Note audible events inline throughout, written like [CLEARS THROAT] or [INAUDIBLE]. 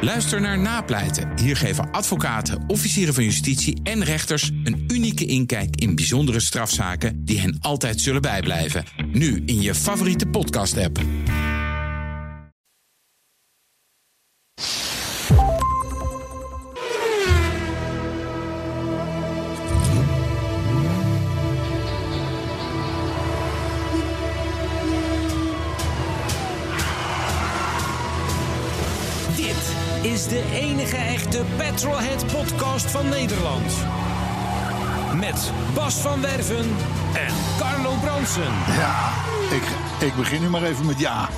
Luister naar Napleiten. Hier geven advocaten, officieren van justitie en rechters een unieke inkijk in bijzondere strafzaken die hen altijd zullen bijblijven. Nu in je favoriete podcast-app. Dit is de enige echte Petrolhead podcast van Nederland. Met Bas van Werven en Carlo Bronsen. Ja, ik, ik begin nu maar even met ja.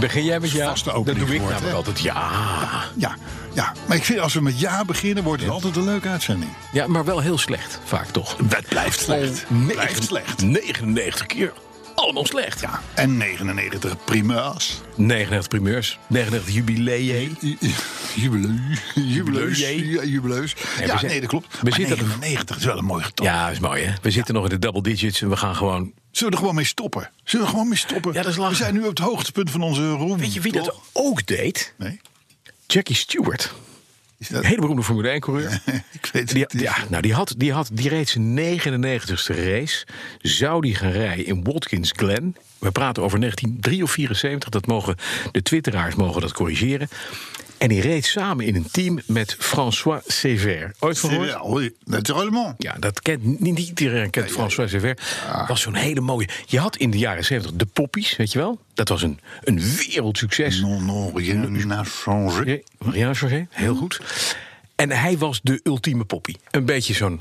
Begin jij met Is ja? vast de dat doe opening ik geworden, namelijk hè? altijd. Ja. Ja, ja. Maar ik vind als we met ja beginnen, wordt het altijd een leuke uitzending. ja, maar wel heel slecht, vaak toch? Dat blijft slecht. Al negen- Blijft slecht. 99 keer. Allemaal slecht. Ja. En 99 prima's. 99 primeurs, 99 jubileum. I- i- Jubileus. Jubileus. Jubileus. Jubileus. Ja, zitten- nee, dat klopt. we Maar zitten- 99 is wel een mooi getal. Ja, is mooi hè. We zitten nog in de double digits en we gaan gewoon. Zullen we er gewoon mee stoppen? Zullen we er gewoon mee stoppen? Ja, dat is lachen. we zijn nu op het hoogtepunt van onze roem. Weet je wie dat toch? ook deed? Nee. Jackie Stewart. Is dat... Een hele beroemde Formule 1 coureur. [LAUGHS] ik weet het Die, niet. ja, nou, die, had, die, had, die reed zijn 99ste race. Zou die gaan rijden in Watkins Glen? We praten over 1973 of 74. Dat mogen, de twitteraars mogen dat corrigeren. En die reed samen in een team met François Sever. Ooit van gehoord? Ja, hoi. Natuurlijk. Ja, dat kent niet niet iedereen kent François Sever. Was zo'n hele mooie. Je had in de jaren 70 de Poppies, weet je wel? Dat was een, een wereldsucces. Non, non, rien n'a changé. dus- Ja, Marianne Chargé, heel goed. En hij was de ultieme poppy. Een beetje zo'n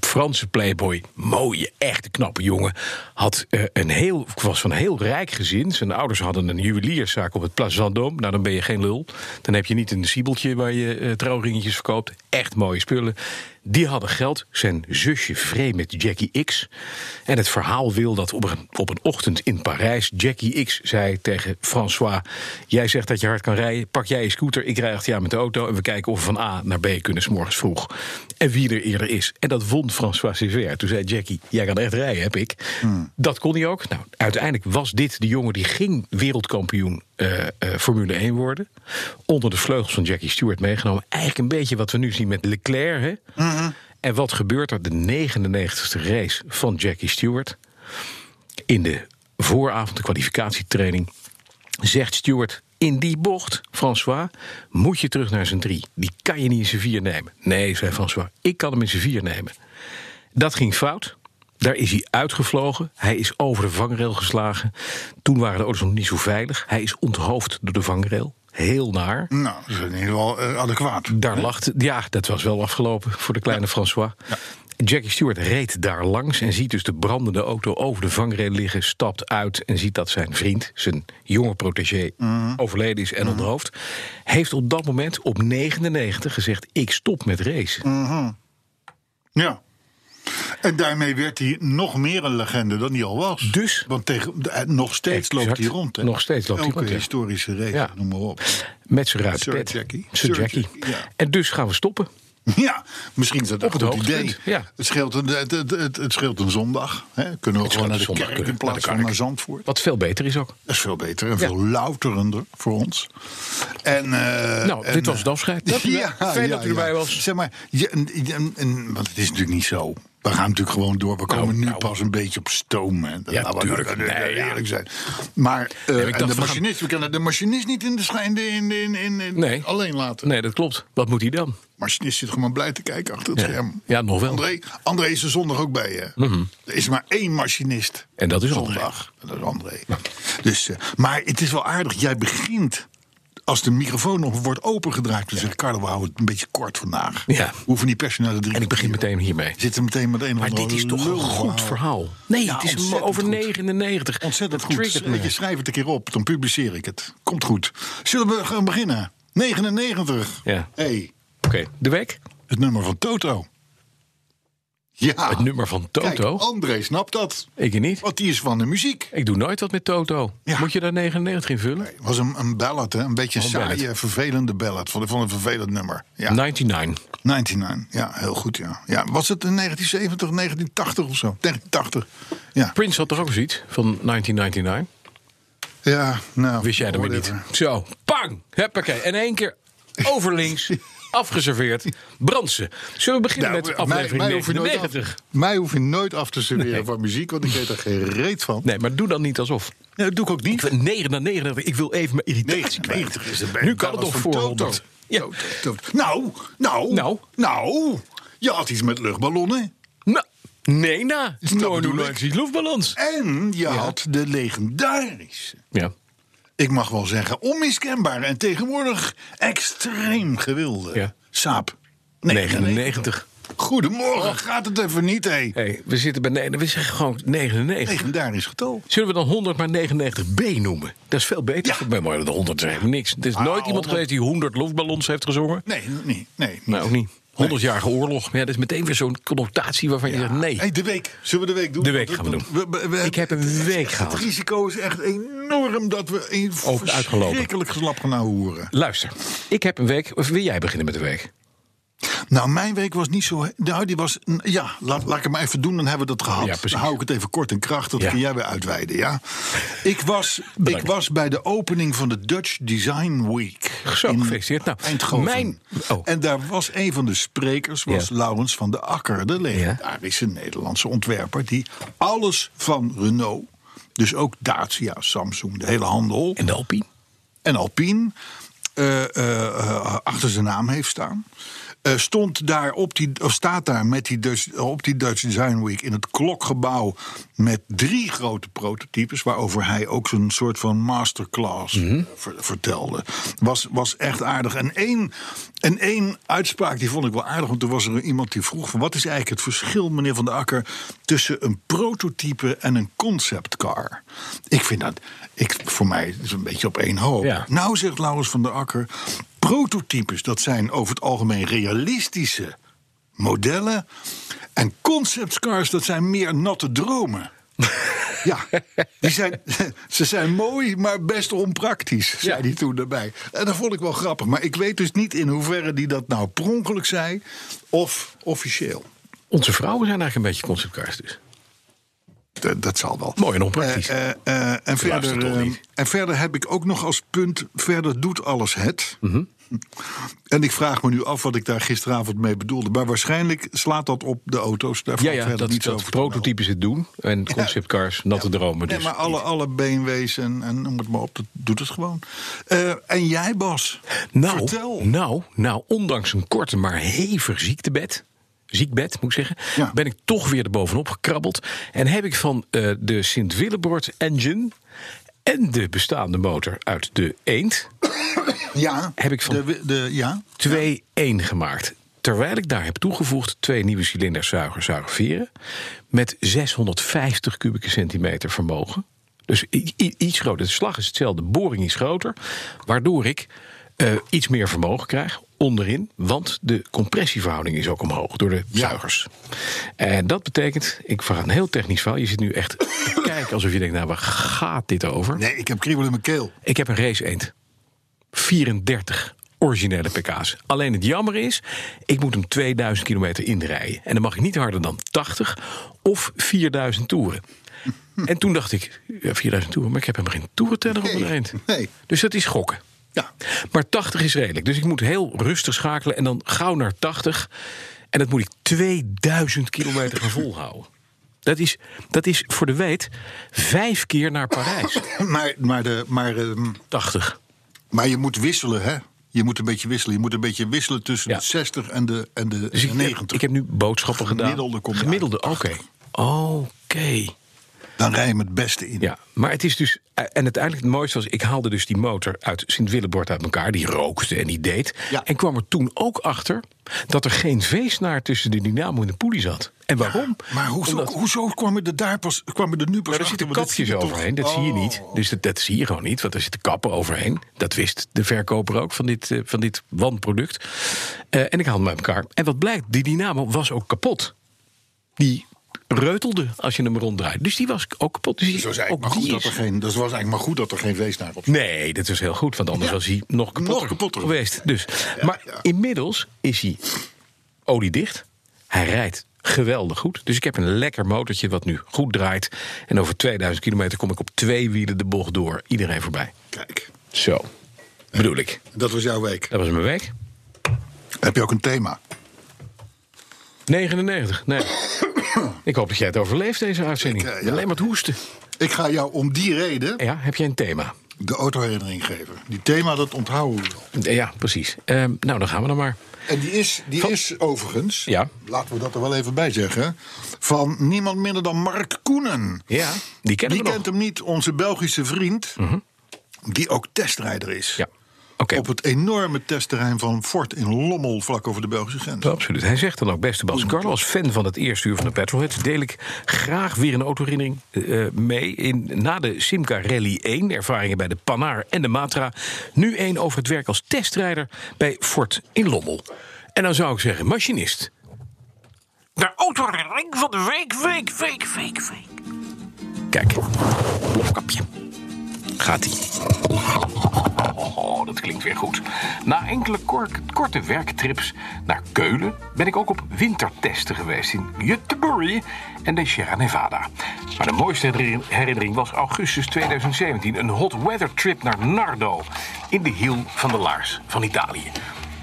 Franse playboy. Mooie, echte, knappe jongen. Had, eh, een heel, was van een heel rijk gezin. Zijn ouders hadden een juwelierszaak op het Place Vendôme. Nou, dan ben je geen lul. Dan heb je niet een siebeltje waar je eh, trouwringetjes verkoopt. Echt mooie spullen. Die hadden geld. Zijn zusje vreemd met Jackie X. En het verhaal wil dat op een, op een ochtend in Parijs... Jackie X zei tegen François... jij zegt dat je hard kan rijden, pak jij je scooter... ik rij achter jou met de auto en we kijken of we van A naar B kunnen... 's morgens vroeg. En wie er eerder is. En dat won François Césaire. Toen zei Jackie, jij kan echt rijden, heb ik. Dat kon hij ook. Nou, uiteindelijk was dit de jongen die ging wereldkampioen... eh, eh, Formule 1 worden. Onder de vleugels van Jackie Stewart meegenomen. Eigenlijk een beetje wat we nu zien met Leclerc. Hè? En wat gebeurt er? De 99ste race van Jackie Stewart. In de vooravond, de kwalificatietraining, zegt Stewart... in die bocht, François, moet je terug naar zijn drie. Die kan je niet in zijn vier nemen. Nee, zei François, ik kan hem in zijn vier nemen. Dat ging fout. Daar is hij uitgevlogen. Hij is over de vangrail geslagen. Toen waren de auto's nog niet zo veilig. Hij is onthoofd door de vangrail. Heel naar. Nou, dat is in ieder geval eh, adequaat. Daar lacht. Ja, dat was wel afgelopen voor de kleine François. Jackie Stewart reed daar langs en ziet dus de brandende auto over de vangrail liggen, stapt uit en ziet dat zijn vriend, zijn jonge protégé, Mhm. overleden is en onderhoofd. Heeft op dat moment op 99 gezegd: Ik stop met racen. Mhm. Ja. En daarmee werd hij nog meer een legende dan hij al was. Dus? Want tegen, eh, nog steeds Exact. loopt hij rond. Hè? Nog steeds loopt hij Elke rond, ja. historische race, Ja. noem maar op. Met zijn ruit Sir pet. Jackie. Sir Sir Jackie. Jackie, ja. En dus gaan we stoppen. Ja, misschien is dat een Op het goed hoogtepunt, idee. ja. Het, scheelt een, het, het, het, het scheelt een zondag. Hè? Kunnen we Het gewoon scheelt naar de een zondag, kerk kunnen in we naar de plaats van kerk. naar Zandvoort. Wat veel beter is ook. Dat is veel beter en Ja. veel louterender voor ons. En, eh, Nou, en, dit was eh, het [LAUGHS] afscheid. Dank u wel. Fijn dat u erbij was. Zeg maar, je, en- en- en- want het is natuurlijk niet zo. We gaan natuurlijk gewoon door. We komen nu nou. pas een beetje op stoom. Hè. Dat Ja, laten we- tuurlijk. laten we Nee, ja. eerlijk zijn. Maar eh, ik en dacht, de we gaan- machinist, we kunnen de machinist niet in de schijn in, in, in, in- Nee. alleen laten. Nee, dat klopt. Wat moet hij dan? De machinist zit gewoon blij te kijken achter het Ja. scherm. Ja, nog wel. André, André is er zondag ook bij. Hè. Er is maar één machinist. Mhm. En dat is André. zondag. En Dat is André. Dus, eh, maar het is wel aardig. Jij begint. Als de microfoon nog wordt opengedraaid, dan zegt Carlo, we houden het een beetje kort vandaag. Ja. We hoeven niet personele drie. En ik begin meteen hiermee. Zitten meteen met een of Maar andere dit is toch een lul goed verhaal. Nee, het is ontzettend maar over goed. 99. Ontzettend Dat goed. triggert me. Weet je, schrijf het een keer op, dan publiceer ik het. Komt goed. Zullen we gaan beginnen? 99. Ja. Hey, Oké, de week. het nummer van Toto. Ja. Het nummer van Toto. Ah. Kijk, oh. André snapt dat. ik niet. Want die is van de muziek. Ik doe nooit wat met Toto. Ja. Moet je daar 99 in vullen? Het was een, een ballad, hè? een beetje een Oh, saaie, ballad. Nou. vervelende ballad. Vond ik vond een vervelend nummer. Ja. 99. 99, ja, heel goed, ja. ja. Was het in 1970, 1980 of zo? 1980, ja. Prince had toch ook zoiets van 1999? Ja, nou... Wist jij dat maar whatever. niet? Zo, pang! Huppakee. En één keer [LAUGHS] Overlinks. Afgeserveerd. Brandsen. Zullen we beginnen met aflevering Nou, hoef je nooit af, 99? mij hoef je nooit af te serveren Nee. van muziek, want ik weet er geen reet van. Nee, maar doe dan niet alsof. Nee, dat doe ik ook Ik niet. vind 99. Ik wil even mijn irritatie 90 is het kwijt. bijna. Nu kan het Dat nog was voor van 100. Toto. Ja. Tot- Nou, nou, Nou. nou. Je had iets met luchtballonnen. Nou, nee, na. dat Nooit doen bedoel ik? nooit die loefbalans. En je had de legendarische. Ja. Ik mag wel zeggen, onmiskenbaar en tegenwoordig extreem gewilde. Ja. Saap. 99. Goedemorgen, Oh. gaat het even niet, hé. Hey, we zitten bij nee, we zeggen gewoon 99. Legendarisch getal. Zullen we dan 100 maar 99b noemen? Dat is veel beter. Ja. Voor mij maar de 100 is helemaal niks. Er is Ah, nooit iemand 100. geweest die 100 loefballons heeft gezongen. Nee, nee, nee. Nou, ook niet. 100-jarige oorlog. Ja, dat is meteen weer zo'n connotatie waarvan je zegt nee. Hey, de week. Zullen we de week doen? De week gaan we Want- doen. Ik heb een het is week echt- gehad. Het risico is echt enorm dat we een Ook uitgelopen. verschrikkelijk slap gaan horen. Luister, ik heb een week. Of wil jij beginnen met de week? Nou, mijn week was niet zo... Nou, die was... Ja, laat, laat ik het maar even doen, dan hebben we dat gehad. Ja, precies. Dan hou ik het even kort en krachtig, Ja. kun jij weer uitweiden, ja? Ik was, ik Bedankt. was bij de opening van de Dutch Design Week. Zo, in gefeliciteerd. Nou, Eindhoven. mijn- oh. En daar was een van de sprekers, was Ja. Laurens van de Akker. De legendarische Nederlandse ontwerper die alles van Renault... Dus ook Dacia, Samsung, de hele handel En de Alpine? en Alpine eh, eh, eh, achter zijn naam heeft staan. Eh, stond daar op die, of staat daar met die Dutch, op die Dutch Design Week in het klokgebouw met drie grote prototypes, waarover hij ook zo'n soort van masterclass eh, ver- vertelde. Was, was echt aardig. En één, en één uitspraak die vond ik wel aardig, want toen was er iemand die vroeg: van, wat is eigenlijk het verschil, meneer Van der Akker, tussen een prototype en een conceptcar? Ik vind dat, ik, voor mij is het een beetje op één hoop. Ja. Nou, zegt Laurens van der Akker, prototypes, dat zijn over het algemeen realistische modellen. En conceptcars, dat zijn meer natte [LAUGHS] dromen. ja, die zijn, ze zijn mooi, maar best onpraktisch, zei Ja. hij toen daarbij. En dat vond ik wel grappig, maar ik weet dus niet in hoeverre die dat nou per ongeluk zei of officieel. Onze vrouwen zijn eigenlijk een beetje conceptcars dus. D- dat zal wel. Mooi en onpraktisch. Eh, eh, eh, en, luistert verder, toch eh, niet? en verder heb ik ook nog als punt: verder doet alles het. Mhm. En ik vraag me nu af wat ik daar gisteravond mee bedoelde. Maar waarschijnlijk slaat dat op de auto's. Daar Ja, valt ja, verder dat, niet zo dat over te melden. prototypes het doen. En conceptcars, natte dromen dus. Nee, maar alle, alle BMW's en, en noem het maar op, dat doet het gewoon. Eh, en jij, Bas? Nou, vertel. nou, nou, ondanks een korte maar hevig ziektebed. Ziekbed, moet ik zeggen. Ja. Ben ik toch weer erbovenop gekrabbeld. En heb ik van eh, de Sint-Willebord engine. en de bestaande motor uit de Eend. ja, heb ik van- De, wi- de, ja, 2-1 gemaakt. Terwijl ik daar heb toegevoegd twee nieuwe cilinders zuiger, zuigerveren. met 650 kubieke centimeter vermogen. Dus i- i- iets groter. De slag is hetzelfde, de boring is groter. Waardoor ik eh, iets meer vermogen krijg onderin. Want de compressieverhouding is ook omhoog door de zuigers. En dat betekent, ik vraag een heel technisch verhaal. Je zit nu echt te kijken alsof je denkt, nou waar gaat dit over? nee, ik heb kriebel in mijn keel. Ik heb een race eend. 34 originele pk's. Alleen het jammer is, ik moet hem 2000 kilometer inrijden. En dan mag ik niet harder dan 80 of [LAUGHS] 4000 toeren. En toen dacht ik, ja, 4000 toeren, maar ik heb helemaal geen toerenteller op Nee, mijn eend. nee. Dus dat is gokken. Ja. Maar 80 is redelijk. Dus ik moet heel rustig schakelen en dan gauw naar 80. En dat moet ik 2000 kilometer gaan volhouden. Dat is, dat is voor de weet vijf keer naar [LAUGHS] Parijs. [LAUGHS] Maar, maar, de, maar, ehm, 80. maar je moet wisselen, hè? Je moet een beetje wisselen. Je moet een beetje wisselen tussen Ja. de 60 en de, en de Dus ik, 90. ik heb nu boodschappen gedaan. Gemiddelde kom je Gemiddelde, oké. Oké. Dan rij je hem het beste in. Ja, maar het is dus. En uiteindelijk het mooiste was. Ik haalde dus die motor uit Sint-Willebord uit elkaar. Die rookte en die deed. Ja. En kwam er toen ook achter. dat er geen veesnaar tussen de dynamo en de poelie zat. En waarom? Maar hoezo, Omdat- hoezo kwam je er, daar pas, kwam je er nu pas maar er achter? zitten Want dat zie kapjes je toch- overheen, dat zie je niet. Oh. Dus dat, dat zie je gewoon niet, want er zitten kappen overheen. Dat wist de verkoper ook van dit, eh, van dit wanproduct. Eh, en ik haal hem uit elkaar. En wat blijkt, die dynamo was ook kapot. Die reutelde als je hem ronddraait. Dus die was ook kapot. Dus die, Zo zei ik, ook maar goed die dat er is- geen, dat was eigenlijk maar goed dat er geen weesnaar op zat. Nee, dat was heel goed, want anders Ja. was hij nog kapotter, Nog kapotter. geweest. Dus. maar ja. inmiddels is hij oliedicht. Hij rijdt geweldig goed. Dus ik heb een lekker motortje wat nu goed draait. En over 2000 kilometer kom ik op twee wielen de bocht door. Iedereen voorbij. Kijk. Zo. bedoel ik. Dat was jouw week. Dat was mijn week. Heb je ook een thema? 99, nee. ik hoop dat jij het overleeft, deze uitzending. Ik, eh, ja. Alleen maar het hoesten. Ik ga jou om die reden Ja, heb jij een thema? de autoherinnering geven. Die thema, dat onthouden we wel. Ja, precies. Ehm, nou, dan gaan we dan maar. En die is, die Van- is overigens, Ja. laten we dat er wel even bij zeggen... van niemand minder dan Mark Koenen. Ja, die kennen Die we kent nog. Mhm. hem niet, onze Belgische vriend... die ook testrijder is. Ja, oké. Op het enorme testterrein van Fort in Lommel, vlak over de Belgische grens. Absoluut. Hij zegt dan ook, beste Bas Carlo, als fan van het eerste uur van de Petrolheads... deel ik graag weer een autoherinnering eh, eh, mee. In, na de Simca Rally 1, ervaringen bij de Panaar en de Matra... nu één over het werk als testrijder bij Ford in Lommel. En dan zou ik zeggen, machinist. De autoherinnering van de week, week, week, week, week. Kijk, plofkapje. Gaat-ie. Oh, dat klinkt weer goed. Na enkele kor- korte werktrips naar Keulen ben ik ook op wintertesten geweest in Juttebury en de Sierra Nevada. Maar de mooiste herinner- herinnering was augustus 2017, een hot weather trip naar Nardo in de hiel van de Laars van Italië.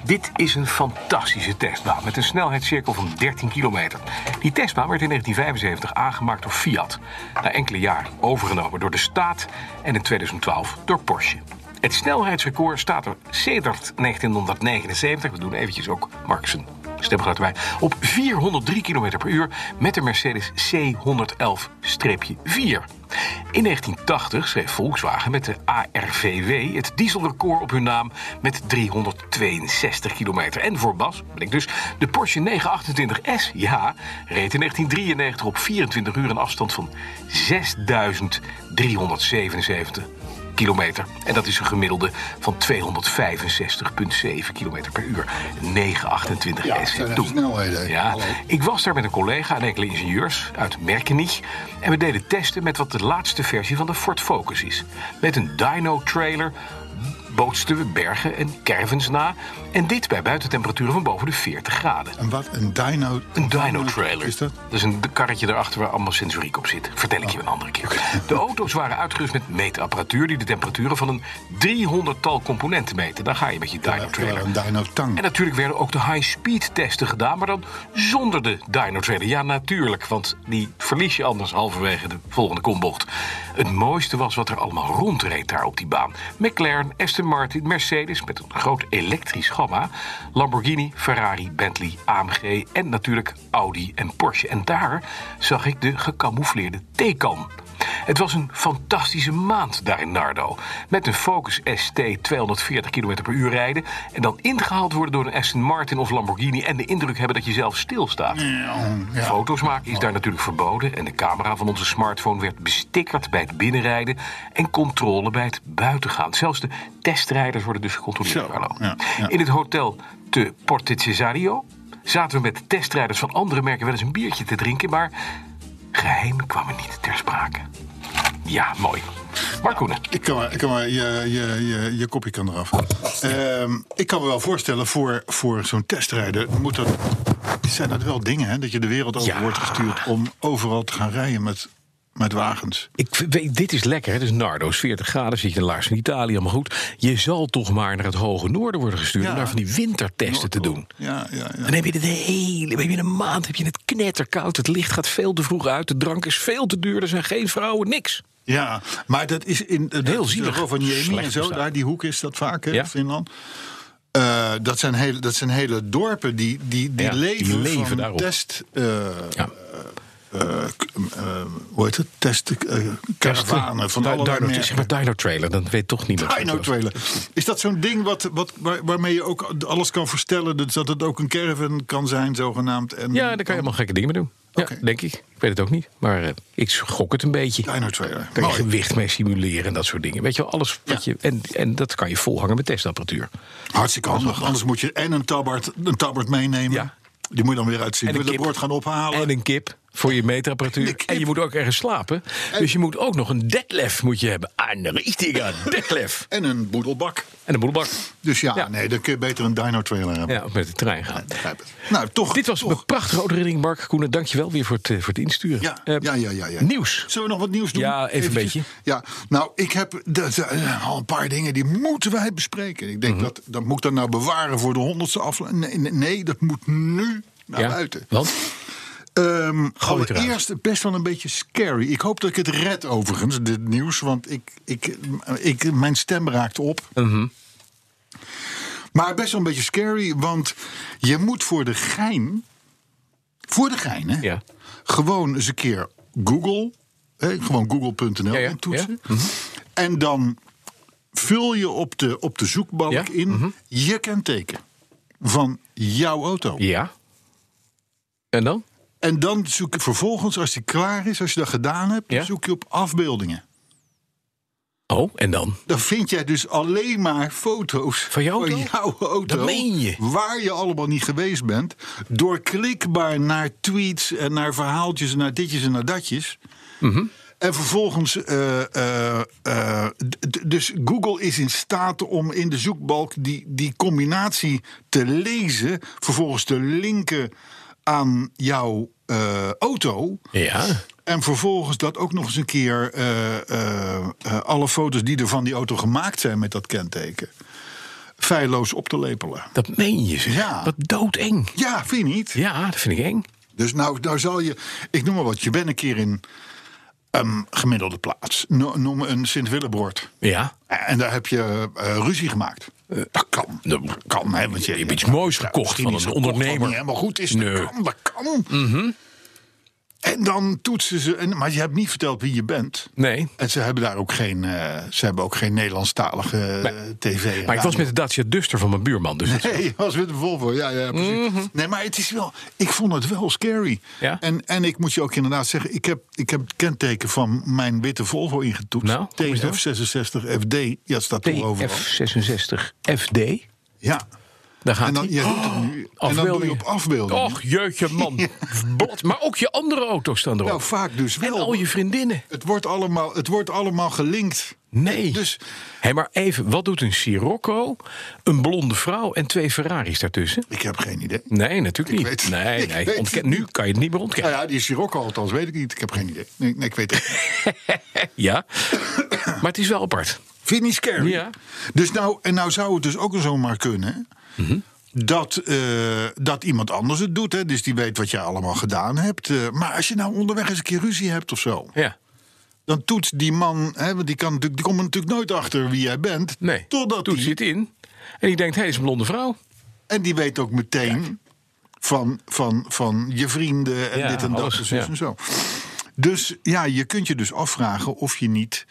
Dit is een fantastische testbaan met een snelheidscirkel van 13 kilometer. Die testbaan werd in 1975 aangemaakt door Fiat. Na enkele jaren overgenomen door de staat en in 2012 door Porsche. Het snelheidsrecord staat er sedert 1979. We doen eventjes ook Marx een stemgeluid erbij. Op 403 km per uur met de Mercedes C111-4. In 1980 schreef Volkswagen met de ARVW het dieselrecord op hun naam met 362 kilometer. En voor Bas, ben ik dus, de Porsche 928S, ja, reed in 1993 op 24 uur een afstand van 6377 kilometer. En dat is een gemiddelde van 265,7 kilometer per uur. 928 Ja, S. dat zijn echt Toen. snelheden, hè. Ja, Hallo. ik was daar met een collega en enkele ingenieurs uit Merkenich. En we deden testen met wat de laatste versie van de Ford Focus is. Met een dyno-trailer bootsten we bergen en caravans na. En dit bij buitentemperaturen van boven de 40 graden. En wat? Een dyno... Een dyno-trailer. Is dat? Oh. is een karretje daarachter waar allemaal sensoriek op zit. Vertel ik je een andere keer. De auto's waren uitgerust met meetapparatuur... die de temperaturen van een 300-tal componenten meten. Daar ga je met je Terwijl dyno-trailer. Een dyno-tang. En natuurlijk werden ook de high-speed testen gedaan... maar dan zonder de dyno-trailer. Ja, natuurlijk, want die verlies je anders halverwege de volgende kombocht. Het mooiste was wat er allemaal rondreed daar op die baan. McLaren, Aston Martin, Mercedes met een groot elektrisch gamma... Lamborghini, Ferrari, Bentley, AMG en natuurlijk Audi en Porsche. En daar zag ik de gecamoufleerde Taycan... Het was een fantastische maand daar in Nardo. Met een Focus ST 240 km per uur rijden... en dan ingehaald worden door een Aston Martin of Lamborghini... en de indruk hebben dat je zelf stilstaat. Foto's maken is daar natuurlijk verboden... en de camera van onze smartphone werd bestikkerd bij het binnenrijden... en controle bij het buitengaan. Zelfs de testrijders worden dus gecontroleerd. Zo, Carlo. ja, ja. In het hotel te Porte Cesario... zaten we met testrijders van andere merken wel eens een biertje te drinken... maar geheimen kwamen niet ter sprake. Ja, mooi. Mark Hoenen. Ik kan maar, ik kan maar je, je, je, je kopje kan eraf. Ehm, ik kan me wel voorstellen, voor, voor zo'n testrijder moet dat, zijn dat wel dingen, hè? Dat je de wereld over Ja. wordt gestuurd om overal te gaan rijden met, met wagens. Ik weet, dit is lekker. Het is Nardo's 40 graden, zit je in Laars van Italië, allemaal goed. Je zal toch maar naar het hoge noorden worden gestuurd... Ja. om daar van die wintertesten te doen. Ja, ja, ja. Dan heb je het de hele, heb je een maand heb je het knetterkoud. Het licht gaat veel te vroeg uit. De drank is veel te duur. Er zijn geen vrouwen, niks. ja maar dat is in eh, dat Heel is zielig. de Rovaniemi Slecht en zo, bestaan. daar die hoek is dat vaak, hè, Ja. Finland. Eh, dat, zijn hele, dat zijn hele dorpen die, die, die Ja, die leven, leven van daarop. test... eh, Ja. eh, k- eh, hoe heet het? Test, eh, karavanen van Dino- allerlei Dino- merken. Zeg maar Dino Trailer, dan weet toch niemand. Dino trailer. Is dat zo'n ding wat, wat, waar- waarmee je ook alles kan verstellen? Dus dat het ook een caravan kan zijn, zogenaamd. En Ja, daar kan je helemaal gekke dingen mee doen. Ja, Oké. denk ik. Ik weet het ook niet. Maar eh, ik gok het een beetje. Dino trailer. Kan je Mooi. gewicht mee simuleren en dat soort dingen. Weet je wel, alles wat Ja. je... En, en dat kan je volhangen met testapparatuur. Hartstikke handig. Anders moet je en een tabbert, een tabbert meenemen. Ja. Die moet je dan weer uit En een willen kip. gaan ophalen. En een kip. voor je meetapparatuur. En je moet ook ergens slapen. Dus je moet ook nog een detlef moet je hebben. Ah, Een [LAUGHS] richtige detlef. En een boedelbak. En een boelbak. Dus ja, Ja. nee, dan kun je beter een dino trailer hebben. Ja, of met de trein gaan. Begrijp het. Nou, toch. Dit was een toch. prachtige overreding, Mark Koenen. Dank je wel weer voor het, eh, voor het insturen. Ja, Eh, ja, ja, ja, ja. Nieuws. Zullen we nog wat nieuws doen? Ja, even een Eventjes. Ja, nou, ik heb dat, eh, al een paar dingen die moeten wij bespreken. Ik Mhm. denk dat, dat moet ik dan nou bewaren voor de honderdste aflevering. Nee, nee, nee, dat moet nu naar Ja, buiten. Want? Ehm Gooi het eruit. allereerst best wel een beetje scary. Ik hoop dat ik het red overigens, dit nieuws. Want ik, ik, ik, mijn stem raakt op. Mhm. Maar best wel een beetje scary. Want je moet voor de gein... Voor de gein, hè? Ja. Gewoon eens een keer Google... Hè, gewoon google.nl Ja, ja, Mhm. en toetsen. En dan vul je op de, op de zoekbalk Ja, Mhm. in... je kenteken van jouw auto. Ja. En dan? En dan zoek je vervolgens, als die klaar is, als je dat gedaan hebt, dan Ja. zoek je op afbeeldingen. Oh, en dan? Dan vind jij dus alleen maar foto's Van je auto? jouw auto, Dat meen je. Waar je allemaal niet geweest bent. Doorklikbaar naar tweets en naar verhaaltjes en naar ditjes en naar datjes. Mhm. En vervolgens, eh, eh, eh, d- d- dus Google is in staat om in de zoekbalk die, die combinatie te lezen, vervolgens te linken aan jouw eh, auto. Ja. En vervolgens dat ook nog eens een keer eh, eh, eh, alle foto's die er van die auto gemaakt zijn met dat kenteken. Feilloos op te lepelen. Dat meen je zeg. Ja. Wat doodeng. Ja, vind je niet? Ja, dat vind ik eng. Dus nou, nou zal je, ik noem maar wat, je bent een keer in een gemiddelde plaats. No- noem een Sint-Willebroord. Ja. En daar heb je eh, ruzie gemaakt. Dat kan. Dat kan, hè, want je, Eh, nou, hebt iets moois gekocht misschien van iets een gekocht wat ondernemer. niet helemaal goed is. Dat Nee. Mhm. kan, dat kan. En dan toetsen ze, en, maar je hebt niet verteld wie je bent. Nee. En ze hebben daar ook geen, eh, ze hebben ook geen Nederlandstalige eh, tv. en Maar ik was radio. met de Dacia Duster van mijn buurman. Dus dat- Nee, je was met de Volvo, ja, ja precies. Nee, maar het is wel, ik vond het wel scary. Mhm. Ja? En, en ik moet je ook inderdaad zeggen, ik heb, ik heb het kenteken van mijn witte Volvo ingetoetst. Nou, kom eens door. TF66 FD, ja, het staat er overal. TF66 FD. Ja. Daar gaat En dan, hij. Oh, je doet hem nu, en dan doe je op afbeelding. Och, jeutje [LAUGHS] man. Blad. Maar ook je andere auto's staan erop. Nou, vaak dus en wel. al je vriendinnen. het, wordt allemaal, het wordt allemaal gelinkt. Nee. Dus- Hé, maar even, wat doet een Sirocco, een blonde vrouw en twee Ferraris daartussen? Ik heb geen idee. Nee, natuurlijk Ik niet. weet- nee, ik nee. weet Ontken- het nu kan je het niet meer ontkennen. Nou ja, die is Sirocco althans, weet ik niet. Ik heb geen idee. Nee, nee ik weet het niet. Ja. maar het is wel apart. Vind je niet scary? Ja. Dus nou, en nou zou het dus ook zomaar kunnen... Mhm. Dat, eh, dat iemand anders het doet. Hè? Dus die weet wat jij allemaal gedaan hebt. Eh, maar als je nou onderweg eens een keer ruzie hebt of zo... Ja. dan toetst die man... Hè, want die, kan natuurlijk, die komt er natuurlijk nooit achter wie jij bent. Nee. Totdat Toen die- zit in. En die denkt, hé, is een blonde vrouw. En die weet ook meteen van, van, van je vrienden en Ja, dit en dat alles, en zus ja. en zo. Dus ja, je kunt je dus afvragen of je niet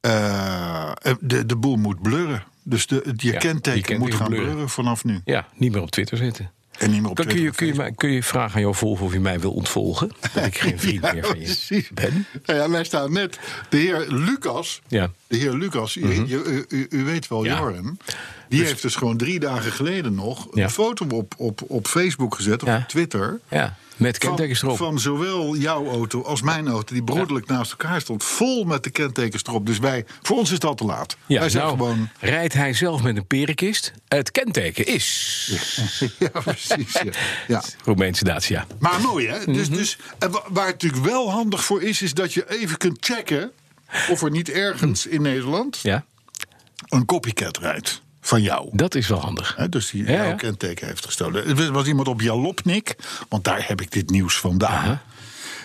eh, de, de boel moet blurren. Dus de, het- je Ja, kenteken je kenteken moet gaan blurren. blurren. vanaf nu. Ja, niet meer op Twitter zitten. En niet meer op Dan kun je, Twitter kun, en je, mij- kun je vragen aan jouw volvo of je mij wil ontvolgen. Dat ik [LAUGHS] [LAUGHS] geen vriend meer van je precies. ben. Nou ja, wij staan net. De heer Lucas. Ja. Mhm. De heer Lucas, u- u, u- u weet wel, Ja. Joren. Die heeft dus gewoon drie dagen geleden nog Ja. een foto op, op, op Facebook gezet, of Ja. op Twitter. Ja, met kentekens van, erop. van zowel jouw auto als mijn auto, die broederlijk naast elkaar stond, vol met de kentekens erop. Dus wij, voor ons is dat te laat. ja, wij zijn nou, gewoon. [LAUGHS] rijdt hij zelf met een perenkist. Het kenteken is... Ja, precies. Ja. Ja. Roemeense Dacia. Maar mooi, hè? Dus, Mhm. dus, en wa- waar het natuurlijk wel handig voor is, is dat je even kunt checken of er niet ergens in Nederland Hm. Ja, een copycat rijdt van jou. dat is wel handig. Hè, dus die Ja, jouw ja. kenteken heeft gestolen. Er was iemand op Jalopnik, want daar heb ik dit nieuws vandaan.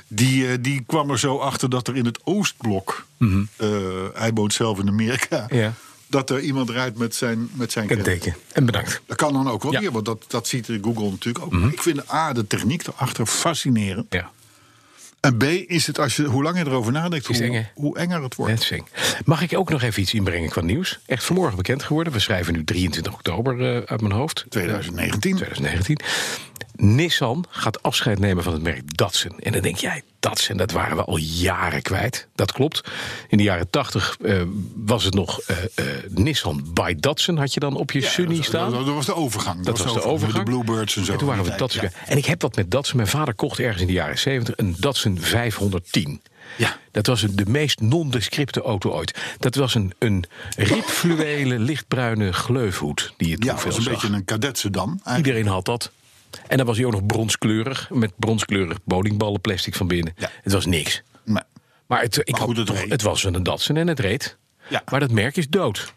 Die, eh, die kwam er zo achter dat er in het Oostblok... eh, hij woont zelf in Amerika... Mhm. Ja. dat er iemand rijdt met zijn, met zijn kenteken. Kenteken. En bedankt. Dat kan dan ook wel Ja. Mhm. weer, want dat, dat ziet Google natuurlijk ook. Maar ik vind A, de techniek erachter fascinerend. Ja, En B, is het als je, hoe langer je erover nadenkt, Is hoe, eng, hè? hoe enger het wordt. net zing. Mag ik ook nog even iets inbrengen qua nieuws? Echt vanmorgen bekend geworden. We schrijven nu 23 oktober eh, uit mijn hoofd. 2019. 2019. Nissan gaat afscheid nemen van het merk Datsun. En dan denk jij, Datsun, dat waren we al jaren kwijt. Dat klopt. In de jaren tachtig eh, was het nog eh, eh, Nissan by Datsun, had je dan op je Sunny dat, staan. Dat, dat was de overgang. Dat was de overgang. De Bluebirds en zo. toen waren we Ja. Datsun. En ik heb dat met Datsun. Mijn vader kocht ergens in de jaren 70 een Datsun 510. Ja. Dat was een- de meest nondescripte auto ooit. Dat was een, een ribfluwelen, lichtbruine gleufhoed die het Ja, het was een beetje een kadetsedan. eigenlijk. Iedereen had dat. En dan was hij ook nog bronskleurig. Met bronskleurig bowlingballen plastic van binnen. Ja. Het was niks. Maar, Maar het, ik Maar goed, had het toch, reed. het was een Datsun en het reed. Ja. Maar dat merk is dood.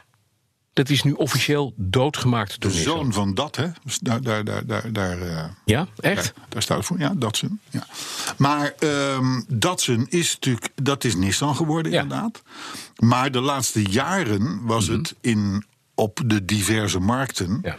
Dat is nu officieel doodgemaakt de door Nissan. zoon van dat, hè? Dus daar, daar, daar, daar, daar, eh, Ja, echt? daar, daar staat het voor. Ja, Datsun. Ja. Maar ehm, Datsun is natuurlijk, dat is Nissan geworden, Ja. Mhm. inderdaad. Maar de laatste jaren was het in, op de diverse markten. Ja.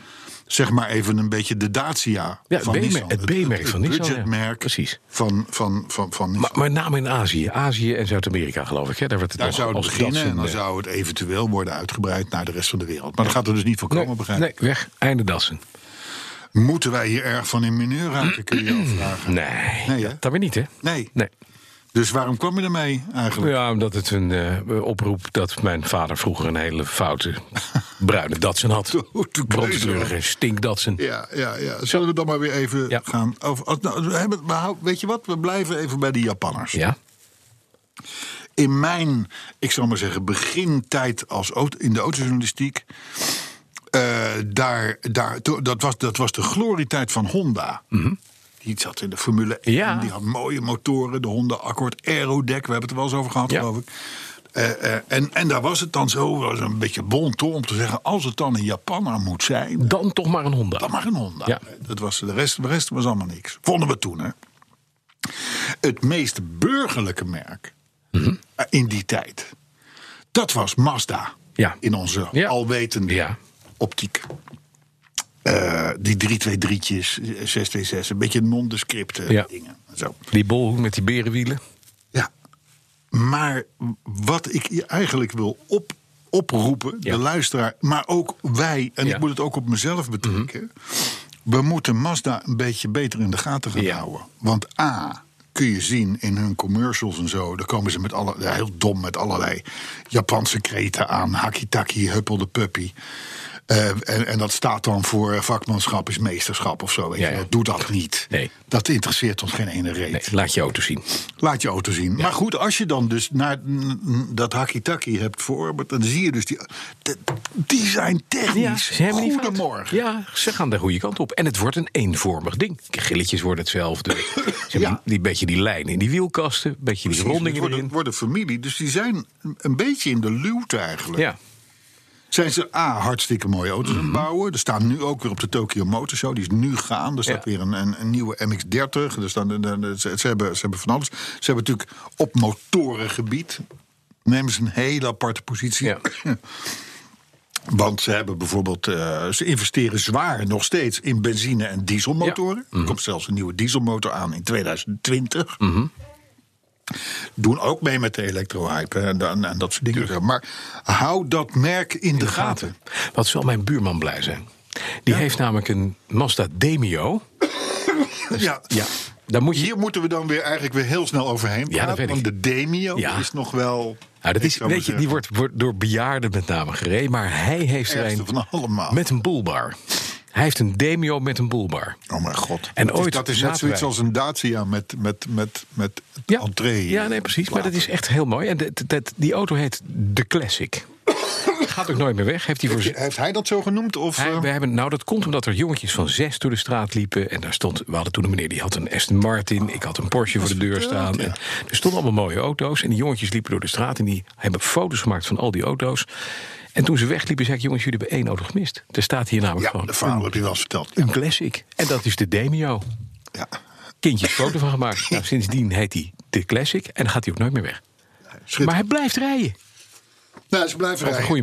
Zeg maar even een beetje de Dacia Ja, het van B-merk- Nissan. het B-merk van Nissan, ja. budgetmerk Precies. Van, van, van, van Nissan. Maar, maar name in Azië. Azië en Zuid-Amerika, geloof ik. Hè? Daar werd het Daar nog zou het als beginnen Datsun, en dan eh, zou het eventueel worden uitgebreid naar de rest van de wereld. Maar dat gaat er dus niet van komen, Nee, begrijp nee, ik. weg. Einde Datsun. Moeten wij hier erg van in mineur raken, kun je je afvragen. Nee, Nee, hè? dat, dat weer niet, hè? Nee. Nee. Dus waarom kwam je ermee eigenlijk? Ja, omdat het een eh, oproep dat mijn vader vroeger een hele foute [LAUGHS] bruine Datsun had. Hoe de Bronskleurige stinkdatsen. Ja, ja, ja. Zullen we dan maar weer even Ja. gaan over... als- nou, we hebben- we hou- weet je wat, we blijven even bij de Japanners. Ja. In mijn, ik zal maar zeggen, begintijd als, auto- in de autojournalistiek... eh, daar, daar, to- dat, was, dat was de glorietijd van Honda. Die zat in de Formule 1, Mhm. Ja. die had mooie motoren. De Honda Accord Aerodeck, we hebben het er wel eens over gehad, Ja. geloof ik. Eh, eh, en, en daar was het dan zo, was een beetje bon ton om te zeggen... als het dan een Japanner moet zijn... Dan toch maar een Honda. Dan maar een Honda. Ja. Dat was, de, rest, de rest was allemaal niks. Vonden we toen, hè? Het meest burgerlijke merk Mhm. eh, in die tijd... dat was Mazda. Ja. In onze Ja. alwetende Ja. optiek. Eh, die 323'tjes, 626, een beetje nondescripte Ja. dingen dingen. en Zo. Die bolhoek met die berenwielen. Ja. Maar wat ik hier eigenlijk wil op, oproepen, Ja. de luisteraar, maar ook wij, en Ja. Mhm. ik moet het ook op mezelf betrekken. We moeten Mazda een beetje beter in de gaten gaan Ja. houden. Want A. Kun je zien in hun commercials en zo. Daar komen ze met alle, ja, heel dom met allerlei Japanse kreten aan. Hakitaki, huppel de puppy. Eh, en, en dat staat dan voor vakmanschap is meesterschap of zo. Weet Ja, je. ja. wel. Doe dat niet. Nee. Dat interesseert ons geen ene reet. Nee, laat je auto zien. Laat je auto zien. Maar goed, als je dan dus naar mm, mm, dat hakitaki hebt verorberd, dan zie je dus die. de- Die zijn technisch. Goedemorgen. Ja, ze gaan de goede kant op. En het wordt een eenvormig ding. Grilletjes worden [LAUGHS] hetzelfde. Ze hebben Ja. die, die beetje die lijnen in die wielkasten. Een beetje die Precies, het rondingen wordt, erin. het wordt een familie, dus die zijn een- een beetje in de luwte eigenlijk. Ja. Mhm. Zijn ze A, hartstikke mooie auto's aan het bouwen. Er staan nu ook weer op de Tokyo Motor Show, die is nu gaande. Er staat Ja. weer een, een, een nieuwe MX-30. Er staan, de- de- ze, ze hebben, ze hebben van alles. Ze hebben natuurlijk op motorengebied... nemen ze een hele aparte positie. Ja. [CLEARS THROAT] Want ze hebben bijvoorbeeld, eh, ze investeren zwaar nog steeds in benzine- en dieselmotoren. Mhm. Er komt zelfs een nieuwe dieselmotor aan in 2020. Mhm. Doen ook mee met de elektrohype hè, en, dan- en dat soort dingen. Maar hou dat merk in, de gaten. Wat zal mijn buurman blij zijn? Die heeft namelijk een Mazda Demio. [LAUGHS] Ja. Ja, daar moet je... Hier moeten we dan weer eigenlijk weer heel snel overheen Ja, dat praten, weet ik. Want de Demio Ja. is nog wel... Nou, dat ik is, zou maar weet je, die zeggen, wordt, wordt door bejaarden met name gereden. Maar hij heeft er ergste een van allemaal. met een boelbar. Hij heeft een Demio met een boelbar. Oh mijn god. En dat is, ooit dat is zaten net zoiets wij- als een Dacia met, met, met, met het entree. ja, nee, precies. Maar dat is echt heel mooi. En dat, dat, die auto heet de Classic. Gaat ook nooit meer weg. Heeft hij voor Dus Heeft hij dat zo genoemd? Of, Hij- eh? we hebben, nou, dat komt omdat er jongetjes van zes door de straat liepen. En daar stond, we hadden toen een meneer die had een Aston Martin. Ik had een Porsche voor de deur staan. En er stonden allemaal mooie auto's. En die jongetjes liepen door de straat. En die hebben foto's gemaakt van al die auto's. En toen ze wegliepen, zei ik: Jongens, jullie hebben één auto gemist. Er staat hier namelijk Ja, gewoon de verhaal heb je wel eens verteld. een classic. En dat is de Demio. Ja. Kindjes foto van gemaakt. Nou, sindsdien heet hij de Classic. En dan gaat hij ook nooit meer weg. Maar Oh, hij blijft rijden. Nou, ze blijven Over rijden. goede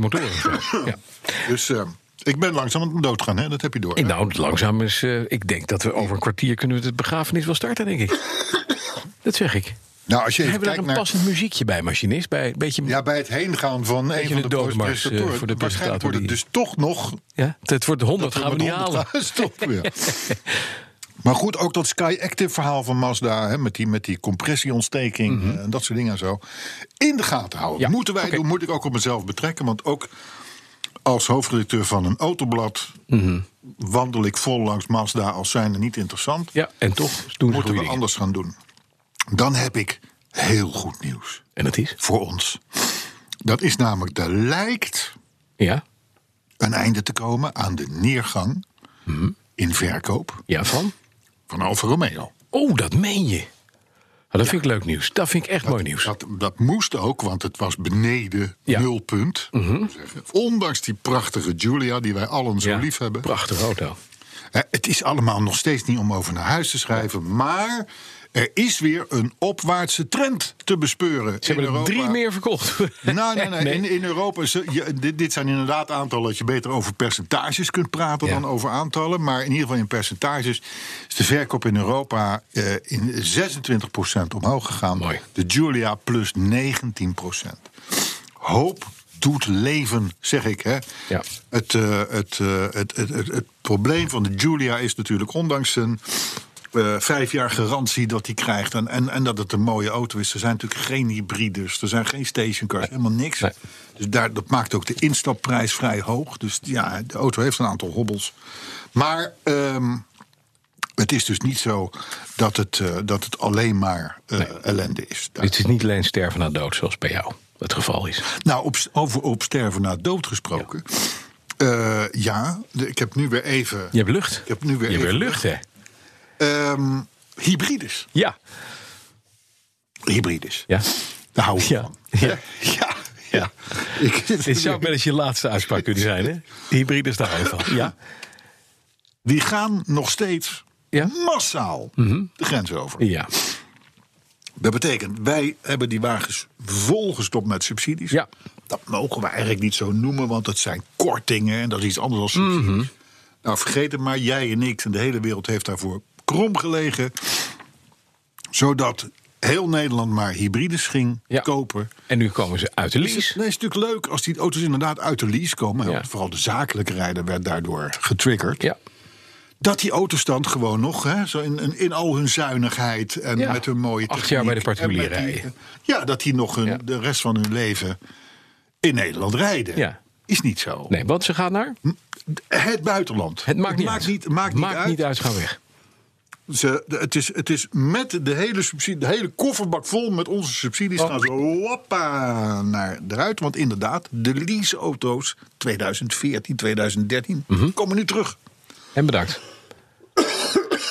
motoren. [LAUGHS] Ja. Dus eh, ik ben langzaam aan het dood gaan, hè? dat heb je door. hè? Ik, nou, langzaam is. eh, ik denk dat we over een kwartier kunnen we de begrafenis wel starten, [LAUGHS] denk ik. Dat zeg ik. nou, als je We even hebben daar kijkt een naar... passend muziekje bij, machinist. Bij een beetje. Ja, Ja, bij het heengaan van een je van de, de doodmars, eh, presentatoren. voor de Waarschijnlijk presentator wordt het dus toch nog... het wordt de 100 dat gaan we met niet halen. 100 [LAUGHS] gaan stoppen, ja. Maar goed, ook dat Sky Active verhaal van Mazda... Hè, met, die, met die compressieontsteking eh, en dat soort dingen en zo... in de gaten houden. Mhm. Ja, Moeten wij oké. doen, moet ik ook op mezelf betrekken. Want ook als hoofdredacteur van een autoblad... Mhm. wandel ik vol langs Mazda als zijnde niet interessant. Ja, en toch doen ze Moeten goede we dingen. anders gaan doen. Dan heb ik heel goed nieuws En dat is? voor ons. Dat is namelijk, er lijkt Ja, een einde te komen aan de neergang... Mhm. in verkoop ja van? van Alfa Romeo. Oh, dat meen je. Ah, dat vind ik leuk nieuws. Dat vind ik echt mooi nieuws. Dat, dat moest ook, want het was beneden Ja. Mhm. nulpunt. zullen we zeggen. Ondanks die prachtige Giulia, die wij allen zo Ja, lief hebben. Prachtige auto. Hè, Het is allemaal nog steeds niet om over naar huis te schrijven. Maar er is weer een opwaardse trend te bespeuren. Ze hebben in er Europa. drie meer verkocht. [LAUGHS] Nou, [LAUGHS] nee, nee. In, in Europa, is- je- dit, dit zijn inderdaad aantallen dat je beter over percentages kunt praten Ja. dan over aantallen. Maar in ieder geval in percentages is de verkoop in Europa eh, in 26% omhoog gegaan. Mooi. De Giulia plus 19%. Hoop doet leven, zeg ik. Hè? Ja. Het, eh, het, eh, het, het, het, het probleem van de Giulia is natuurlijk, ondanks zijn eh, vijf jaar garantie dat hij krijgt en, en, en dat het een mooie auto is, er zijn natuurlijk geen hybrides, er zijn geen stationcars, helemaal niks. Nee. Dus daar, dat maakt ook de instapprijs vrij hoog. Dus ja, de auto heeft een aantal hobbels. Maar ehm, het is dus niet zo dat het, eh, dat het alleen maar eh, ellende is. Daar- Het is niet alleen sterven na dood, zoals bij jou het geval is. nou, op, over op sterven na dood gesproken. Ja, ja de- ik heb nu weer even. Je hebt lucht. Ik heb nu weer je hebt weer even lucht, hè? ehm, hybrides. Ja. Hybrides. Ja. Daar hou ik Ja. van. [LAUGHS] Ja. ja. ja. [LAUGHS] Ik, Dit zou wel eens je laatste uitspraak kunnen zijn, hè? De hybride is daar ook van. Ja. die gaan nog steeds Ja. Mhm. massaal de grens over. Ja. Dat betekent, wij hebben die wagens volgestopt met subsidies. Ja. Dat mogen we eigenlijk niet zo noemen, want dat zijn kortingen en dat is iets anders dan subsidies. Mhm. Nou, vergeet het maar, jij en ik en de hele wereld heeft daarvoor krom gelegen. Zodat heel Nederland maar hybrides ging Ja. kopen. En nu komen ze uit de lease. Nee, het is natuurlijk leuk als die auto's inderdaad uit de lease komen. hè, Ja. want Vooral de zakelijke rijder werd daardoor getriggerd Ja. dat die autostand gewoon nog, hè, zo in, in, in al hun zuinigheid en Ja. met hun mooie Acht jaar techniek bij de en particulier met die- rijden. Ja, dat die nog hun, Ja. de rest van hun leven in Nederland rijden. Ja. Is niet zo. Nee, want ze gaan naar? Het buitenland. Hm? Het maakt niet maakt uit. Niet, maakt niet uit. niet uit, gaan weg. Ze, de- het, is, het is met de hele, subsidie, de hele kofferbak vol met onze subsidies... gaan ze wappa naar eruit. Want inderdaad, de leaseauto's 2014, 2013 komen nu terug. En bedankt.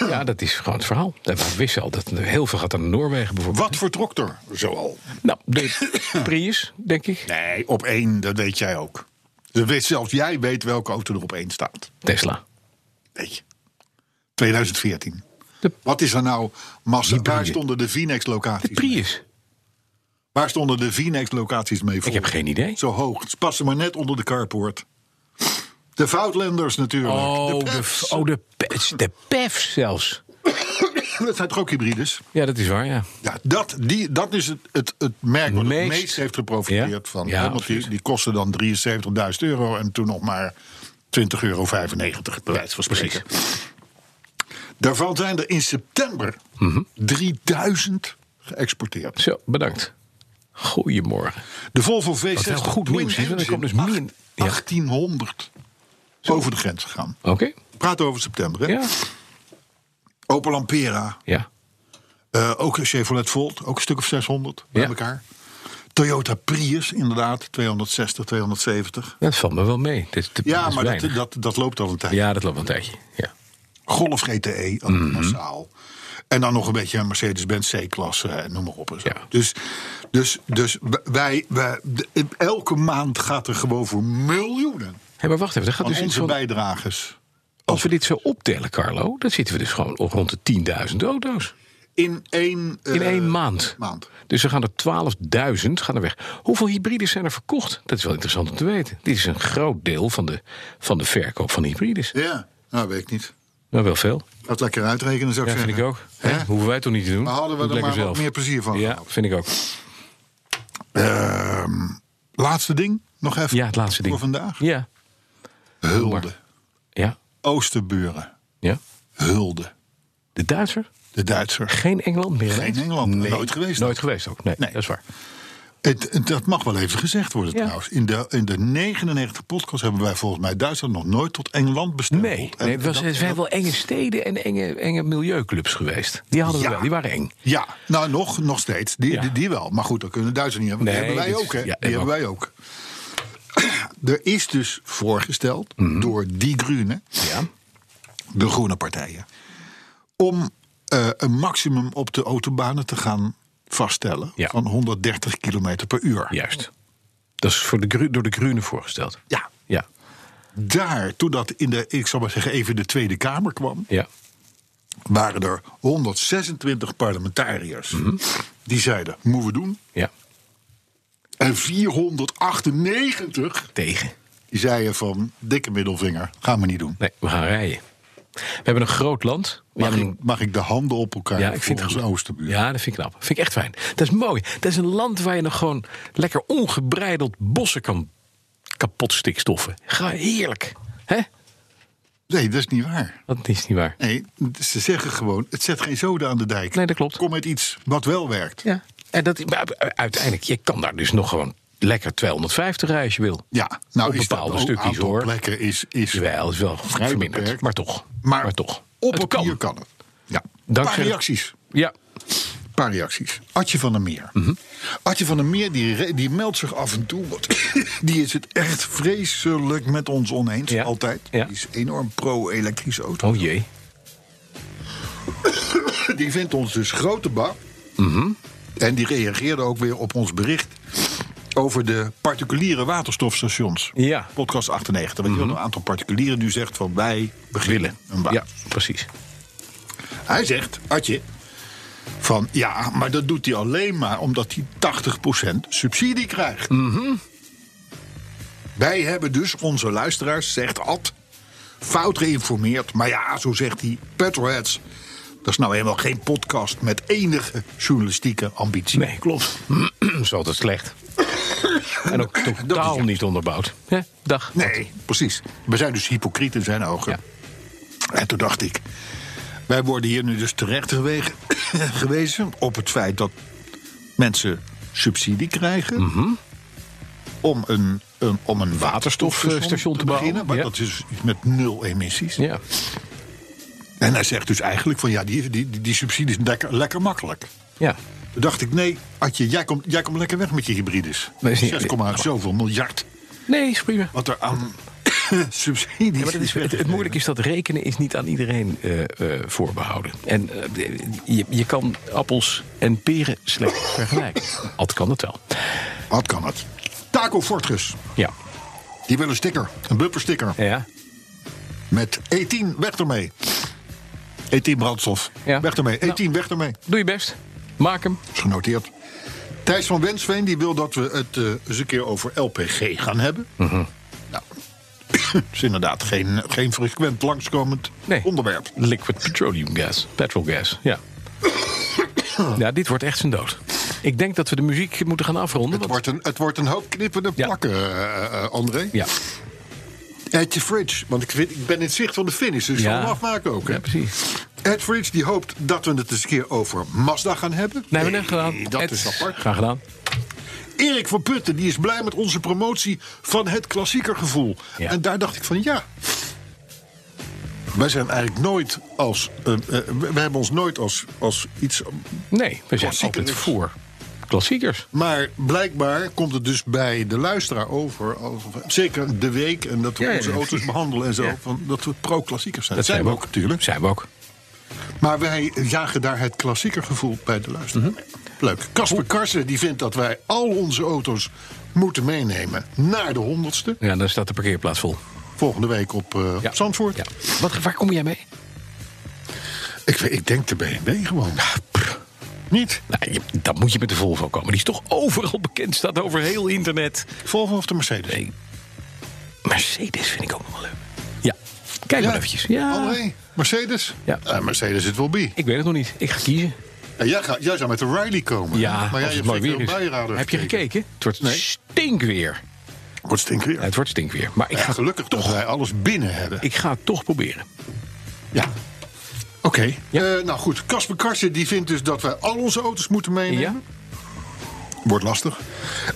Ja, dat is gewoon het verhaal. We wisten al dat er heel veel gaat naar Noorwegen bijvoorbeeld. Wat vertrok er zoal? Nou, de Prius, denk ik. Nee, op één, dat weet jij ook. Dat weet, zelfs jij weet welke auto er op één staat. Tesla. Weet je. 2014. De- Wat is er nou massa? Hybride. Waar stonden de De Vinex-locaties? mee? Prius. Waar stonden de Vinex-locaties mee voor? Ik heb geen idee. Zo hoog. Ze passen maar net onder de carport. De Foutlanders natuurlijk. Oh, de, Pefs. f- oh, de, pe- de PEF zelfs. Dat zijn toch ook hybrides? Ja, dat is waar, ja. Ja, dat, die, dat is het, het, het merk wat Meest. het meest heeft geprofiteerd Ja. van. Ja, hè, want die, absoluut. die kosten dan 73.000 euro en toen nog maar 20,95 euro, bij wijze van spreken. Daarvan zijn er in september Mhm. 3000 geëxporteerd. Zo, bedankt. Goedemorgen. De Volvo Wat V60 wel goed Twin nieuws is, want er Engine, komt dus meer in. Ja. 1800 over de grens gegaan. Oké? We praten over september. Hè? Ja. Opel Ampera, Ja. Eh, ook een Chevrolet Volt, ook een stuk of 600 bij Ja. elkaar. Toyota Prius, inderdaad, 260, 270. Dat valt me wel mee. Dit, dit- Ja, dit is maar dat, weinig. dat, dat loopt al een tijd. Ja, Mhm. dat loopt wel een tijdje. Ja. Golf GTE, ook massaal. En dan nog een beetje een Mercedes-Benz C-klasse, eh, noem maar op. En zo. Ja. Dus, dus, dus wij, wij, de- elke maand gaat er gewoon voor miljoenen Hé, maar wacht even. Dat van gaat dus iets onze van- bijdragers. als we dit zo optellen, Carlo, dan zitten we dus gewoon op rond de 10.000 auto's. In één, eh, In één maand. maand. Dus er gaan er 12.000 gaan er weg. Hoeveel hybrides zijn er verkocht? Dat is wel interessant om te weten. Dit is een groot deel van de, van de verkoop van hybrides. Ja, nou weet ik niet. Nou, wel veel. Gaat lekker uitrekenen, zou ik Ja, vind zeggen. ik ook. Hè? Hè? Hoeven wij toch niet te doen? Maar hadden we Doe er het maar lekker wat zelf. meer plezier van Ja, gehad. vind ik ook. Ehm, laatste ding, nog even. Ja, het laatste ding. Voor vandaag. Ja. Hulde. Ja. Oosterburen. Ja. Hulde. De Duitser? de Duitser. Geen Engeland meer? Geen ineens? Engeland, nooit geweest. Nooit geweest ook, nee, Nee. dat is waar. Het- het- dat mag wel even gezegd worden Ja. trouwens. In de, in de 99 podcast hebben wij volgens mij Duitsland nog nooit tot Engeland bestempeld. Nee, En nee het was, dat- het zijn wel enge steden en enge, enge milieuclubs geweest. Die hadden Ja. we wel, die waren eng. Ja, nou nog, nog steeds. Die, Ja. die, die wel. Maar goed, dat kunnen Duitsers niet hebben. Nee, die hebben wij dat is- ook, hè? ja, die hebben hebben wij ook. [CLEARS THROAT] Er is dus voorgesteld door die Groene, Mhm. Ja. de groene partijen, om eh, een maximum op de autobanen te gaan vaststellen Ja. van 130 km per uur. Juist. Dat is voor de, Gru- door de Groenen voorgesteld. Ja. Ja. Daar, toen dat in de, ik zal maar zeggen, even de Tweede Kamer kwam, ja. waren er 126 parlementariërs Mhm. die zeiden: moeten we doen. Ja. En 498 Tegen. Die zeiden van, dikke middelvinger, gaan we niet doen. Nee, we gaan rijden. We hebben een groot land. We Mag, hebben ik, mag ik de handen op elkaar Ja, ik voor vind het onze goed. oosterbuur? Ja, dat vind ik knap. Vind ik echt fijn. Dat is mooi. Dat is een land waar je nog gewoon lekker ongebreideld bossen kan kapot stikstoffen. Ga heerlijk. Hè? Nee, dat is niet waar. Dat is niet waar. Nee, ze zeggen gewoon, het zet geen zoden aan de dijk. Nee, dat klopt. Kom met iets wat wel werkt. Ja. En dat, maar uiteindelijk, je kan daar dus nog gewoon lekker 250 rijden als je wil. Ja, nou Op is bepaalde dat ook stukjes, aantal hoor. plekken is... is Jawel, dat is wel Vrij verminderd. beperkt. Maar toch. maar, toch. op Het papier kan het. Ja, Dankzij paar de- reacties. Ja. paar reacties. Adje van der Meer. Mhm. Adje van der Meer die, re- die meldt zich af en toe. want [COUGHS] die is het echt vreselijk met ons oneens. Ja. Altijd. Ja. Die is enorm pro-elektrische auto. Oh jee. Oh. Die vindt ons dus grote bak. Mhm. En die reageerde ook weer op ons bericht over de particuliere waterstofstations. Ja. Podcast 98. Want je wil een aantal particulieren nu zegt van wij beginnen een baan. Mhm. Ja, precies. Hij zegt, Adje, van ja, maar dat doet hij alleen maar omdat hij 80% subsidie krijgt. Mhm. Wij hebben dus onze luisteraars, zegt Ad, fout geïnformeerd. Maar ja, zo zegt hij, petrolheads, dat is nou helemaal geen podcast met enige journalistieke ambitie. Nee, [CLEARS THROAT] klopt. Dat is altijd slecht. en ook [LAUGHS] Dat is totaal juist. niet onderbouwd. Hè? Dag. Nee, eh, precies. We zijn dus hypocriet in zijn ogen. Ja. En toen dacht ik, wij worden hier nu dus terecht gewegen- [COUGHS] gewezen op het feit dat mensen subsidie krijgen Mhm. om een, een, om een waterstofstation Waterstofstation te, te bouwen, beginnen. Maar ja. dat is dus met nul emissies. Ja. En hij zegt dus eigenlijk van ja, die, die, die, die subsidie is lekker, lekker makkelijk. Ja. Toen dacht ik, nee, Adje, jij komt jij komt lekker weg met je hybrides. Nee, is niet- 6, zoveel miljard Nee, is prima. wat er aan [COUGHS] subsidies Ja, maar dat is, het, het moeilijke is dat rekenen is niet aan iedereen eh, eh, voorbehouden. En eh, je, je kan appels en peren slecht [LAUGHS] vergelijken. Altijd kan het wel. Wat kan het? Taco Fortress. Ja. Die wil een sticker. Een bumpersticker. Ja. Met E10, weg ermee. E10 brandstof. Ja. Weg ermee. Nou. E10, weg ermee. Doe je best. Maak hem. Is genoteerd. Thijs van Wensveen die wil dat we het eh, eens een keer over LPG gaan hebben. Mhm. Nou, [COUGHS] het is inderdaad geen, geen frequent langskomend Nee. onderwerp. Liquid petroleum gas. Petrol gas. Ja. ja, dit wordt echt zijn dood. Ik denk dat we de muziek moeten gaan afronden. Het want- wordt, een, het wordt een hoop knippende Ja. plakken, eh, eh, André. Ja. Ed Fridge, want ik, vind, ik ben in het zicht van de finish, dus ik zal Ja. hem afmaken ook. Hè? Ja, precies. Ed Fridge die hoopt dat we het eens een keer over Mazda gaan hebben. Nee, we hebben het Nee, gedaan. Dat Ed, is apart. Graag gedaan. Erik van Putten die is blij met onze promotie van het klassiekergevoel. Ja. En daar dacht ik van ja. Wij zijn eigenlijk nooit als. eh, eh, we we hebben ons nooit als, als iets. Nee, we zijn altijd Klassiekers. voor klassiekers. Maar blijkbaar komt het dus bij de luisteraar over. Als, zeker de week en dat we Ja, ja, onze ja, auto's precies. behandelen en zo. Ja. Van, dat we pro-klassiekers zijn. Dat, zijn we ook, natuurlijk. Zijn we ook. Maar wij jagen daar het klassiekergevoel bij de luisteraar. Mhm. Leuk. Casper Karsen die vindt dat wij al onze auto's moeten meenemen naar de honderdste. Ja, dan staat de parkeerplaats vol. Volgende week op, eh, Ja. op Zandvoort. Ja. Wat, waar kom jij mee? Ik, weet- ik denk de BMW gewoon. Niet? Nou, je, dan moet je met de Volvo komen. Die is toch overal bekend, staat over heel internet. Volvo of de Mercedes? Nee. Mercedes vind ik ook nog wel leuk. Ja, kijk maar eventjes. Ja. André, Mercedes? Ja. Eh, Mercedes het wel bij. Ik weet het nog niet. Ik ga kiezen. En jij, gaat, jij zou met de Riley komen. Ja, maar als jij het hebt mooi zeker weer een is. bijrader Heb je gekeken? Het wordt Nee. stinkweer. Wordt stinker. Ja, het wordt stinkweer. Maar ik Ja, ga, gelukkig dat wij alles binnen hebben. ik ga het toch proberen. Ja. Oké. Eh, nou goed, Casper Karsen die vindt dus dat wij al onze auto's moeten meenemen. Wordt lastig.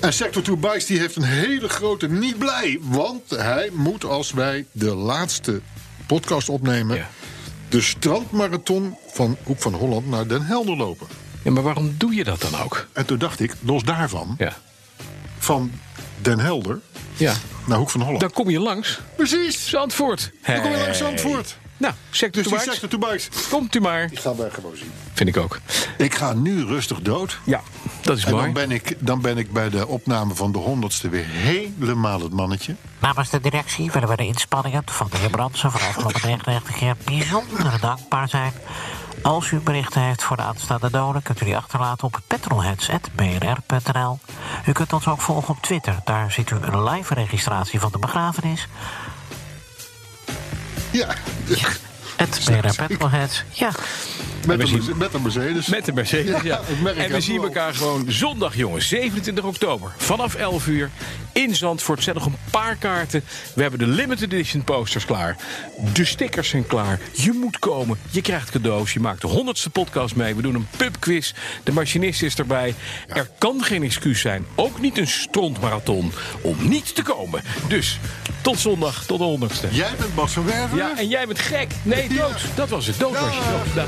En Sector 2 Bikes die heeft een hele grote niet blij. Want hij moet, als wij de laatste podcast opnemen... Ja. de strandmarathon van Hoek van Holland naar Den Helder lopen. Ja, maar waarom doe je dat dan ook? En toen dacht ik, los daarvan, Ja. van Den Helder ja. naar Hoek van Holland. Dan kom je langs. Precies! Zandvoort. Dan kom je langs Zandvoort. Nou, sector Dus die dus Sector 2 Bikes, die Komt u maar. gaan wij gewoon zien. Vind ik ook. Ik ga nu rustig dood. Ja, dat is En mooi. dan ben, ik, dan ben ik bij de opname van de honderdste weer helemaal het mannetje. Namens de directie willen we de inspanningen van de heer Brandsen van de afgelopen 99 jaar bijzonder dankbaar zijn. Als u berichten heeft voor de aanstaande doden, kunt u die achterlaten op petrolheads.bnr.nl. U kunt ons ook volgen op Twitter. Daar ziet u een live registratie van de begrafenis. Ja, Het BNR Petrolheads. Ja, met, een, Merce- met een Mercedes. Met de Mercedes, ja. Ja, ik merk En we het zien wel. elkaar gewoon zondag, jongens. 27 oktober, vanaf 11 uur. In Zandvoort zijn nog een paar kaarten. We hebben de limited edition posters klaar. De stickers zijn klaar. Je moet komen. Je krijgt cadeaus. Je maakt de honderdste podcast mee. We doen een pubquiz. De machinist is erbij. Er kan geen excuus zijn. Ook niet een strontmarathon. Om niet te komen. Dus tot zondag, tot de honderdste. Jij bent Bas van Werven. Ja, en jij bent gek. Nee, Ja. dood. Dat was het. Dood was je. Dood. Dag.